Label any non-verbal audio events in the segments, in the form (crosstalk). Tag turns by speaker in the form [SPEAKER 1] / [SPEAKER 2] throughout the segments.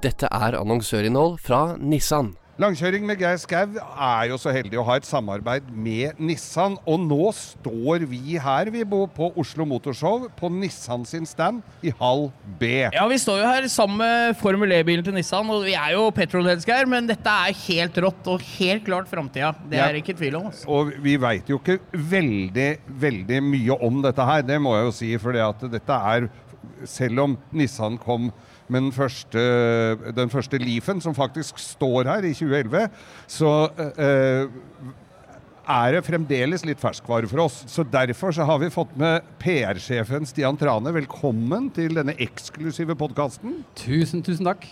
[SPEAKER 1] Dette er annonsørinnhold fra Nissan.
[SPEAKER 2] Langkjøring med Geir Skau er jo så heldig å ha et samarbeid med Nissan. Og nå står vi her, vi bor på Oslo Motorshow, på Nissan sin stand i hall B.
[SPEAKER 3] Ja, vi står jo her sammen med Formel E-bilen til Nissan, og vi er jo petrolheads her, men dette er helt rått og helt klart framtida. Det
[SPEAKER 2] Ja.
[SPEAKER 3] er ikke tvil om. Altså.
[SPEAKER 2] Og vi veit jo ikke veldig, veldig mye om dette her, det må jeg jo si. For dette er Selv om Nissan kom med den første, den første Leafen, som faktisk står her, i 2011, så eh, er det fremdeles litt ferskvare for oss. Så derfor så har vi fått med PR-sjefen Stian Trane. Velkommen til denne eksklusive podkasten.
[SPEAKER 4] Tusen, tusen takk.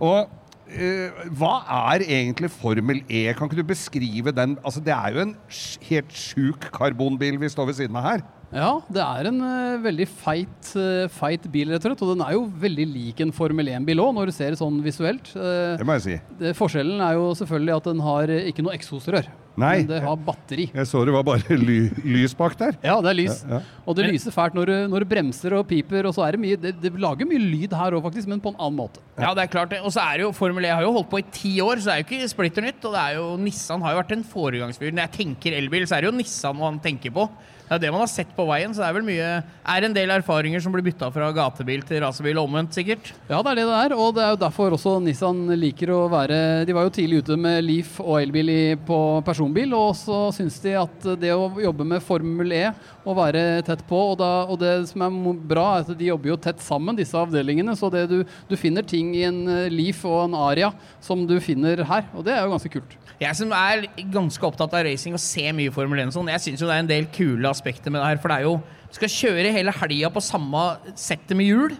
[SPEAKER 2] Og eh, hva er egentlig Formel E? Kan ikke du beskrive den? Altså, det er jo en sj- helt sjuk karbonbil vi står ved siden av her.
[SPEAKER 4] Ja, det er en eh, veldig feit, eh, feit bil, rett og slett. Og den er jo veldig lik en Formel 1-bil òg, når du ser det sånn visuelt. Eh,
[SPEAKER 2] Det må jeg si.
[SPEAKER 4] det, forskjellen er jo selvfølgelig at den har eh, ikke noe eksosrør.
[SPEAKER 2] Nei.
[SPEAKER 4] Men det har batteri.
[SPEAKER 2] Jeg så det var bare (laughs) ly lys bak der.
[SPEAKER 4] Ja, det er lys.
[SPEAKER 2] Ja, ja.
[SPEAKER 4] Og det lyser fælt når du, når du bremser og piper. og så er Det mye, det, det lager mye lyd her òg, faktisk, men på en annen måte.
[SPEAKER 3] Ja, det er klart det. Og så er det jo Formel E har jo holdt på i ti år, så det er jo ikke splitter nytt. Og det er jo Nissan har jo vært en foregangsbil. Når jeg tenker elbil, så er det jo Nissan man tenker på. Det er det man har sett på veien, så det er vel mye Er en del erfaringer som blir bytta fra gatebil til rasebil og omvendt, sikkert.
[SPEAKER 4] Ja, det er det det er, og det er jo derfor også Nissan liker å være De var jo tidlig ute med Leaf og elbil i, på personbil, og så syns de at det å jobbe med Formel E og være tett på og, da, og det som er mo- bra, er at de jobber jo tett sammen, disse avdelingene. Så det du, du finner ting i en eh, Leaf og en Aria som du finner her, og det er jo ganske kult.
[SPEAKER 3] Jeg som er ganske opptatt av racing og ser mye Formel 1 og sånn, jeg syns jo det er en del kule aspekter med det her. For det er jo Du skal kjøre hele helga på samme settet med hjul.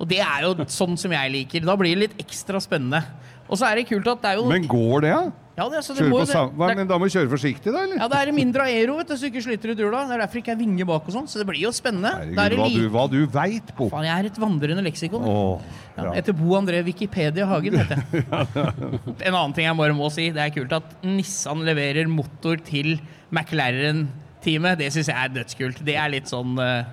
[SPEAKER 3] Og det er jo sånn som jeg liker. Da blir det litt ekstra spennende. Og så er det kult at det er jo
[SPEAKER 2] Men går det, ja?
[SPEAKER 3] ja, det, altså, det
[SPEAKER 2] Kjøre
[SPEAKER 3] må
[SPEAKER 2] på
[SPEAKER 3] jo det-
[SPEAKER 2] sam- Hva,
[SPEAKER 3] det er-
[SPEAKER 2] men da må du kjøre forsiktig, da, eller?
[SPEAKER 3] ja, det er mindre aero, vet du, så du ikke sliter ut hjula. Det er derfor det ikke er vinger bak og sånn. Så det blir jo spennende. Det er
[SPEAKER 2] Herregud, hva du,
[SPEAKER 3] elite-
[SPEAKER 2] hva du veit, Bo.
[SPEAKER 3] Faen, jeg er et vandrende leksikon.
[SPEAKER 2] Åh,
[SPEAKER 3] Ja.
[SPEAKER 2] ja.
[SPEAKER 3] Etter Bo André Wikipedia Hagen, heter
[SPEAKER 2] (laughs)
[SPEAKER 3] jeg. En annen ting jeg bare må si, det er kult at Nissan leverer motor til McLaren-teamet. Det syns jeg er dødskult. Det er litt sånn eh,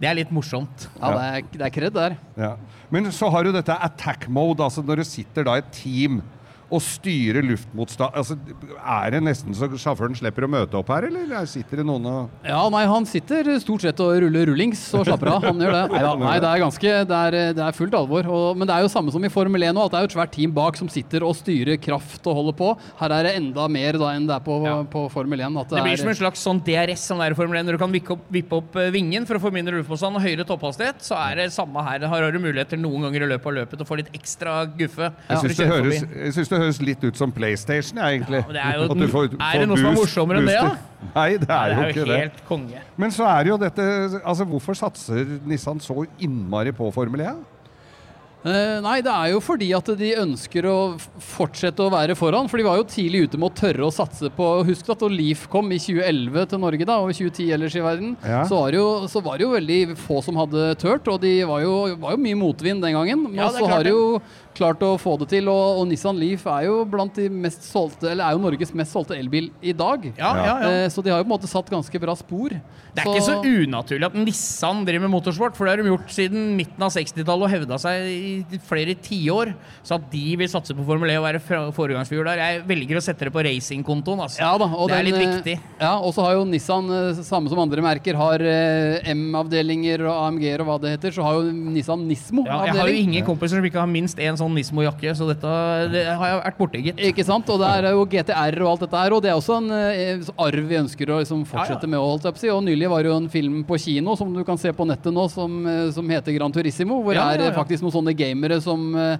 [SPEAKER 3] Det er litt morsomt.
[SPEAKER 4] Ja, det er, det er kred der.
[SPEAKER 2] Ja. Men så har du dette attack mode, altså når du sitter da i et team og styrer luftmotstand altså, Er det nesten så sjåføren slipper å møte opp her, eller sitter det noen og
[SPEAKER 4] Ja, nei, han sitter stort sett og ruller rullings og slapper av. Han gjør det. Nei, da, nei det er ganske Det er, det er fullt alvor. Og, men det er jo samme som i Formel 1 nå, at det er jo et svært team bak som sitter og styrer kraft og holder på. Her er det enda mer da enn det er på, på Formel 1. At det,
[SPEAKER 3] Det blir
[SPEAKER 4] er,
[SPEAKER 3] som en slags sånn DRS som det er i Formel 1, når du kan vippe opp, vippe opp eh, vingen for å få mindre luftmotstand og høyere topphastighet. Så er det samme her. Her har du muligheter noen ganger i løpet av løpet til å få litt ekstra
[SPEAKER 2] Jeg
[SPEAKER 3] guffe. når
[SPEAKER 2] syns
[SPEAKER 3] du
[SPEAKER 2] det,
[SPEAKER 3] kjører
[SPEAKER 2] høres-
[SPEAKER 3] forbi.
[SPEAKER 2] jeg synes det høres litt ut som PlayStation, jeg, egentlig.
[SPEAKER 3] men det er jo-
[SPEAKER 2] At du får-
[SPEAKER 3] er det
[SPEAKER 2] får
[SPEAKER 3] noe som er morsommere enn det, da?
[SPEAKER 2] booster. (laughs) Nei, det
[SPEAKER 3] Ja,
[SPEAKER 2] er jo
[SPEAKER 3] Det
[SPEAKER 2] ikke
[SPEAKER 3] er jo
[SPEAKER 2] det.
[SPEAKER 3] helt konge.
[SPEAKER 2] Men så er det jo dette Altså, hvorfor satser Nissan så innmari på Formel 1?
[SPEAKER 4] Eh, nei, det er jo fordi at de ønsker å f- fortsette å være foran. For de var jo tidlig ute med å tørre å satse på Husk at da Leaf kom i 2011 til Norge, da, og i 2010 ellers i verden,
[SPEAKER 2] Ja.
[SPEAKER 4] så, var det jo, så var det jo veldig få som hadde turt. Og de var jo, var jo mye motvind den gangen. Men
[SPEAKER 3] Ja, det er
[SPEAKER 4] så
[SPEAKER 3] klart
[SPEAKER 4] har
[SPEAKER 3] det.
[SPEAKER 4] de jo klart å få det til. Og, og Nissan Leaf er jo blant de mest solgte, eller er jo Norges mest solgte elbil i dag.
[SPEAKER 3] Ja, ja, ja.
[SPEAKER 4] Eh, Så de har jo på en måte satt ganske bra spor.
[SPEAKER 3] Det er ikke så unaturlig at Nissan driver med motorsport, for det har de gjort siden midten av 60-tallet og hevda seg i flere tiår. Så at de vil satse på Formel E og være fra- foregangsfigur der Jeg velger å sette det på racingkontoen. Altså.
[SPEAKER 4] Ja da, og
[SPEAKER 3] det er
[SPEAKER 4] den,
[SPEAKER 3] litt
[SPEAKER 4] eh,
[SPEAKER 3] viktig.
[SPEAKER 4] Ja, og så har jo Nissan, eh, samme som andre merker, har eh, M-avdelinger og AMG-er og hva det heter, så har jo
[SPEAKER 3] Ja, jeg har jo
[SPEAKER 4] Nissan Nismo-avdeling.
[SPEAKER 3] ingen kompiser som ikke har minst én sånn Nismo-jakke, så dette det har jeg vært borti, gitt.
[SPEAKER 4] ikke sant? Og der er jo GTR og alt dette her, og det er også en eh, arv vi ønsker å liksom fortsette
[SPEAKER 3] Ja, ja.
[SPEAKER 4] med. å holde opp si. Og nylig var det jo en film på kino som du kan se på nettet nå, som, eh, som heter Gran Turissimo, hvor det
[SPEAKER 3] Ja,
[SPEAKER 4] er
[SPEAKER 3] ja, ja.
[SPEAKER 4] eh, faktisk noen sånne gamere som eh,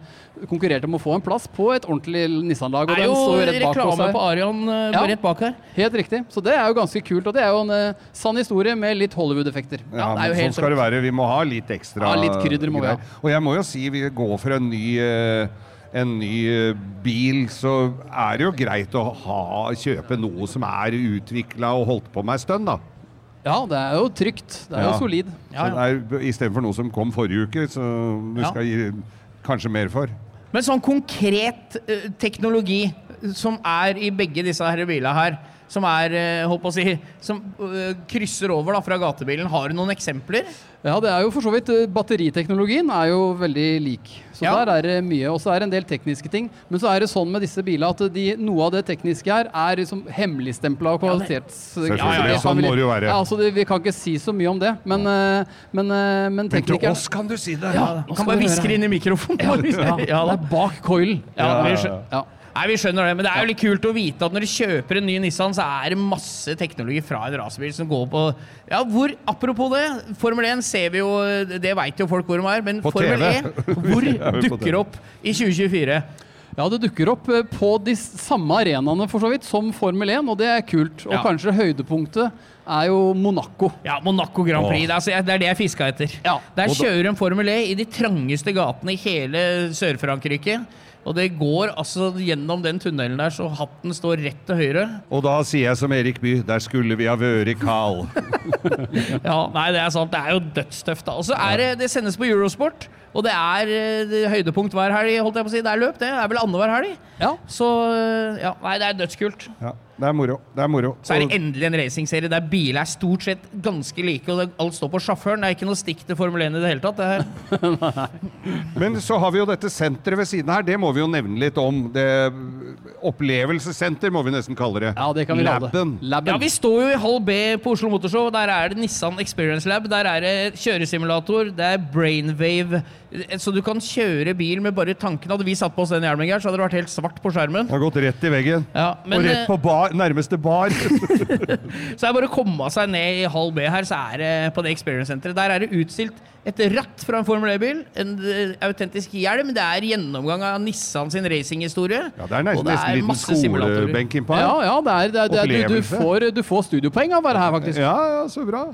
[SPEAKER 4] konkurrerte om å få en plass på et ordentlig Nissan-lag.
[SPEAKER 3] Det
[SPEAKER 4] og
[SPEAKER 3] er
[SPEAKER 4] den
[SPEAKER 3] jo
[SPEAKER 4] står rett bak oss
[SPEAKER 3] reklame
[SPEAKER 4] her.
[SPEAKER 3] på Arian eh,
[SPEAKER 4] Ja.
[SPEAKER 3] rett bak her.
[SPEAKER 4] Helt riktig. Så det er jo ganske kult, og det er jo en eh, sann historie med litt Hollywood-effekter.
[SPEAKER 2] Ja,
[SPEAKER 3] det
[SPEAKER 2] men
[SPEAKER 3] er jo helt
[SPEAKER 2] sånn skal det være. Vi må ha litt ekstra
[SPEAKER 4] Ja, litt krydder må vi ha.
[SPEAKER 2] greier. Og jeg må jo si, vi går for en ny eh, en ny eh, bil, så er det jo greit å ha, kjøpe noe som er utvikla og holdt på med en stund, da.
[SPEAKER 4] sånn- Ja, det er jo trygt. Det er
[SPEAKER 2] Ja.
[SPEAKER 4] jo solid.
[SPEAKER 3] Ja, ja.
[SPEAKER 2] Så det er Istedenfor noe som kom forrige uke, så du
[SPEAKER 3] Ja.
[SPEAKER 2] skal gi kanskje mer for.
[SPEAKER 3] Men sånn konkret eh, teknologi som er i begge disse her bilene her, som er eh, holdt på å si, som eh, krysser over da, fra gatebilen. Har du noen eksempler?
[SPEAKER 4] Ja, det er jo for så vidt eh, Batteriteknologien er jo veldig lik. Så
[SPEAKER 3] Ja.
[SPEAKER 4] der er det mye. Og så er det en del tekniske ting. Men så er det sånn med disse bilene at de, noe av det tekniske her er liksom hemmeligstempla og
[SPEAKER 3] Ja, det-
[SPEAKER 4] kvalitets...
[SPEAKER 2] Selvfølgelig,
[SPEAKER 3] ja,
[SPEAKER 2] sånn må det jo være.
[SPEAKER 4] Ja, altså det, vi kan ikke si så mye om det, men, eh, men, eh, men
[SPEAKER 2] Men til
[SPEAKER 4] teknikeren
[SPEAKER 2] oss kan du si det!
[SPEAKER 4] nå
[SPEAKER 3] Kan
[SPEAKER 4] skal
[SPEAKER 3] bare
[SPEAKER 4] du høre
[SPEAKER 3] hviske
[SPEAKER 4] her.
[SPEAKER 3] det inn i mikrofonen. (laughs)
[SPEAKER 4] (laughs)
[SPEAKER 3] Ja,
[SPEAKER 4] Ja, det
[SPEAKER 3] da.
[SPEAKER 4] er bak coilen.
[SPEAKER 3] Ja,
[SPEAKER 2] Ja,
[SPEAKER 3] vi
[SPEAKER 2] ja,
[SPEAKER 3] skjønner.
[SPEAKER 4] Ja.
[SPEAKER 3] Nei, vi skjønner det, men det er jo litt kult å vite at når du kjøper en ny Nissan, så er det masse teknologi fra en racerbil som går på Ja, hvor Apropos det, Formel 1 ser vi jo Det veit jo folk hvor de er, men
[SPEAKER 2] På
[SPEAKER 3] Formel
[SPEAKER 2] TV.
[SPEAKER 3] 1, hvor
[SPEAKER 2] (laughs) Ja, vi på TV.
[SPEAKER 3] dukker opp i 2024?
[SPEAKER 4] Ja, det dukker opp eh, på de s- samme arenaene for så vidt som Formel 1, og det er kult. Og
[SPEAKER 3] Ja.
[SPEAKER 4] kanskje høydepunktet er jo Monaco.
[SPEAKER 3] Ja, Monaco Grand Prix. Det er, altså- det er det jeg fiska etter.
[SPEAKER 4] Ja.
[SPEAKER 3] Der kjører de Formel E i de trangeste gatene i hele Sør-Frankrike. Og det går altså gjennom den tunnelen der, så hatten står rett til høyre.
[SPEAKER 2] Og da sier jeg som Erik Bye, der skulle vi ha vært, Carl.
[SPEAKER 3] Ja, nei, det er sant. Det er jo dødstøft, da. Og så er det Det sendes på Eurosport, og det er eh, det høydepunkt hver helg, holdt jeg på å si. Det er løp, det. Det er vel annenhver helg.
[SPEAKER 4] Ja.
[SPEAKER 3] Så eh, ja, nei, det er dødskult.
[SPEAKER 2] (laughs) Ja, det er moro. Det er moro.
[SPEAKER 3] Så er det endelig en racingserie der biler er stort sett ganske like, og det, alt står på sjåføren. Det er ikke noe stikk til Formel 1 i det hele tatt. Det er
[SPEAKER 2] Men så har vi jo dette senteret ved siden her, det må vi jo nevne litt om. Det, opplevelsessenter må vi nesten kalle det.
[SPEAKER 4] Ja, det kan vi kalle det.
[SPEAKER 2] Labben.
[SPEAKER 4] Labben.
[SPEAKER 3] Ja, vi står jo i hall B på Oslo Motorshow. Der er det Nissan Experience Lab. Der er det kjøresimulator. Det er brainwave. Så du kan kjøre bil med bare tanken. Hadde vi satt på oss den hjelmen, Geir, så hadde det vært helt svart på skjermen.
[SPEAKER 2] Det har gått rett i veggen.
[SPEAKER 3] Ja, men
[SPEAKER 2] og rett på bar, nærmeste bar.
[SPEAKER 3] eh, Så er det bare å komme seg ned i hall B her, så er det på det Experience-senteret. Der er det utstilt et ratt fra en Formel E-bil. En eh, autentisk hjelm. Det er gjennomgang av Nissan sin racinghistorie.
[SPEAKER 2] Ja, det er
[SPEAKER 3] Og
[SPEAKER 2] nesten,
[SPEAKER 3] det
[SPEAKER 2] nesten
[SPEAKER 3] er
[SPEAKER 2] liten
[SPEAKER 3] masse simulatorer.
[SPEAKER 2] skolebenk innpå
[SPEAKER 4] Ja,
[SPEAKER 2] her.
[SPEAKER 4] ja, det er, det er, det er, du, du,
[SPEAKER 2] Opplevelse.
[SPEAKER 4] får, du får studiopoeng av å være her, faktisk.
[SPEAKER 2] Ja, ja, så bra.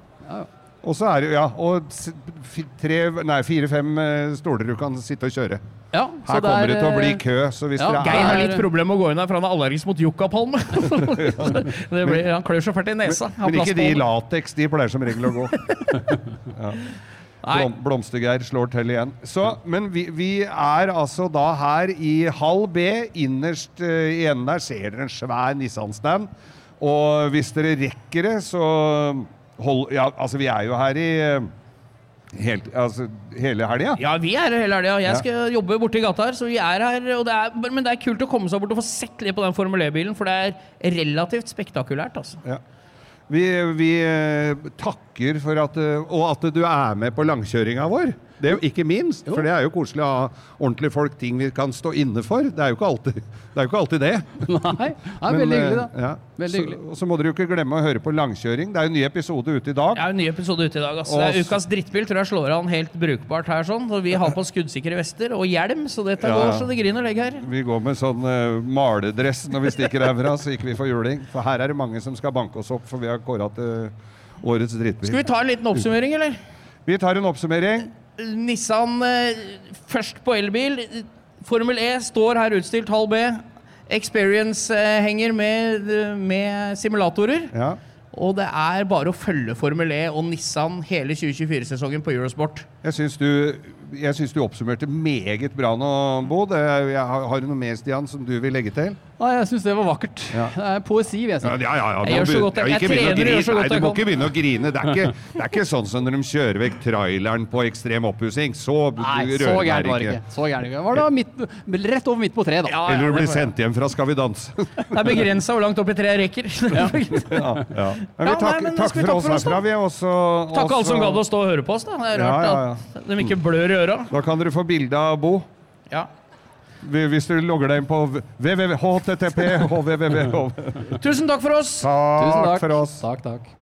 [SPEAKER 2] Og så er det ja, og s- f- tre, nei, fire-fem eh, stoler du kan sitte og kjøre.
[SPEAKER 4] Ja, så
[SPEAKER 2] Her kommer
[SPEAKER 4] er,
[SPEAKER 2] det til å bli
[SPEAKER 4] eh,
[SPEAKER 2] kø, så hvis
[SPEAKER 4] ja,
[SPEAKER 2] dere
[SPEAKER 3] Geir har
[SPEAKER 2] er
[SPEAKER 3] litt problemer med å gå inn her, for han er allergisk mot (laughs) yuccapalme. Det blir- han klør så fælt i nesa. Han
[SPEAKER 2] Men
[SPEAKER 3] har
[SPEAKER 2] ikke de i
[SPEAKER 3] plastpalme.
[SPEAKER 2] lateks, de pleier som regel å gå.
[SPEAKER 3] Nei.
[SPEAKER 2] Blom, Blomstergeir slår til igjen. Så, men vi, vi er altså da her i halv B. Innerst eh, i enden der ser dere en svær Nissan-stand. Og hvis dere rekker det, så hold Ja, altså, vi er jo her i eh, helt, altså, hele helga.
[SPEAKER 3] Ja, vi er her hele helga.
[SPEAKER 2] Ja.
[SPEAKER 3] Jeg skal jobbe borti gata her, så vi er her. Og det er, men det er kult å komme seg bort og få sett litt på den Formel E-bilen, for det er relativt spektakulært, altså.
[SPEAKER 2] Ja. Vi, vi eh, takker for at eh, Og at du er med på langkjøringa vår. Det er jo ikke minst, for det er jo koselig å ha ordentlige folk, ting vi kan stå inne for. Det er jo ikke alltid det. Er jo ikke alltid det.
[SPEAKER 4] (laughs) Nei, det er
[SPEAKER 2] Men,
[SPEAKER 4] veldig
[SPEAKER 2] eh,
[SPEAKER 4] hyggelig, da.
[SPEAKER 2] Ja.
[SPEAKER 4] Veldig
[SPEAKER 2] så,
[SPEAKER 4] hyggelig.
[SPEAKER 2] og så må dere jo ikke glemme å høre på langkjøring. Det er jo en ny episode ute i
[SPEAKER 3] Det
[SPEAKER 2] dag.
[SPEAKER 3] er jo en ny episode ute i dag. Altså.
[SPEAKER 2] Og
[SPEAKER 3] Det er
[SPEAKER 2] s-
[SPEAKER 3] ukas drittbil tror jeg slår an helt brukbart her. sånn Så Vi har på skuddsikre vester og hjelm, så dette
[SPEAKER 2] Ja,
[SPEAKER 3] går
[SPEAKER 2] ja.
[SPEAKER 3] så det griner legg her.
[SPEAKER 2] Vi går med sånn eh, maledress når vi stikker herfra, så ikke vi får juling. For her er det mange som skal banke oss opp, for vi har kåra til årets
[SPEAKER 3] Skal
[SPEAKER 2] drittbil.
[SPEAKER 3] vi ta en liten oppsummering, eller?
[SPEAKER 2] Vi tar en oppsummering.
[SPEAKER 3] Nissan eh, først på elbil. Formel E står her utstilt, halv B. Experience eh, henger med, med simulatorer.
[SPEAKER 2] Ja.
[SPEAKER 3] Og det er bare å følge Formel E og Nissan hele 2024-sesongen på Eurosport.
[SPEAKER 2] Jeg syns du, jeg syns du oppsummerte meget bra nå, Bo. Det, er- jeg har, har du noe mer, Stian, som du vil legge til?
[SPEAKER 4] Nei, jeg syns det var vakkert.
[SPEAKER 2] Ja.
[SPEAKER 4] Det er poesi, vil jeg si.
[SPEAKER 2] ja, ja.
[SPEAKER 3] Jeg gjør så godt jeg- jeg trener, jeg gjør så godt
[SPEAKER 2] Nei, du
[SPEAKER 3] jeg
[SPEAKER 2] må
[SPEAKER 3] kan.
[SPEAKER 2] ikke begynne å grine. Det er ikke, det er ikke sånn som når de kjører vekk traileren på ekstrem oppussing. Så
[SPEAKER 4] Nei, så
[SPEAKER 2] rører
[SPEAKER 4] gærent
[SPEAKER 2] det
[SPEAKER 4] var det ikke. Så gærent var det. det. var midt, rett over midt på treet, da.
[SPEAKER 2] Eller du
[SPEAKER 3] det,
[SPEAKER 2] blir sendt hjem fra Skal vi
[SPEAKER 3] (laughs)
[SPEAKER 2] danse.
[SPEAKER 3] er begrensa hvor langt opp i treet
[SPEAKER 2] (laughs)
[SPEAKER 3] jeg rekker.
[SPEAKER 2] Men vi
[SPEAKER 3] Ja, nei,
[SPEAKER 2] takker,
[SPEAKER 3] men da
[SPEAKER 2] takker
[SPEAKER 3] skal vi
[SPEAKER 2] for
[SPEAKER 3] takke
[SPEAKER 2] oss
[SPEAKER 3] for oss,
[SPEAKER 2] herfra.
[SPEAKER 3] da.
[SPEAKER 2] Vi er også,
[SPEAKER 3] Takk alle
[SPEAKER 2] også-
[SPEAKER 3] som gadd å stå og høre på oss. da Det
[SPEAKER 2] Ja,
[SPEAKER 3] er rart
[SPEAKER 2] ja,
[SPEAKER 3] at de ikke blør i øra.
[SPEAKER 2] Da kan dere få bilde av Bo.
[SPEAKER 3] Ja.
[SPEAKER 2] Hvis dere logger deg inn på www.http.
[SPEAKER 3] Tusen takk for oss!
[SPEAKER 2] Takk
[SPEAKER 4] Tusen
[SPEAKER 2] for oss.
[SPEAKER 4] Takk, takk.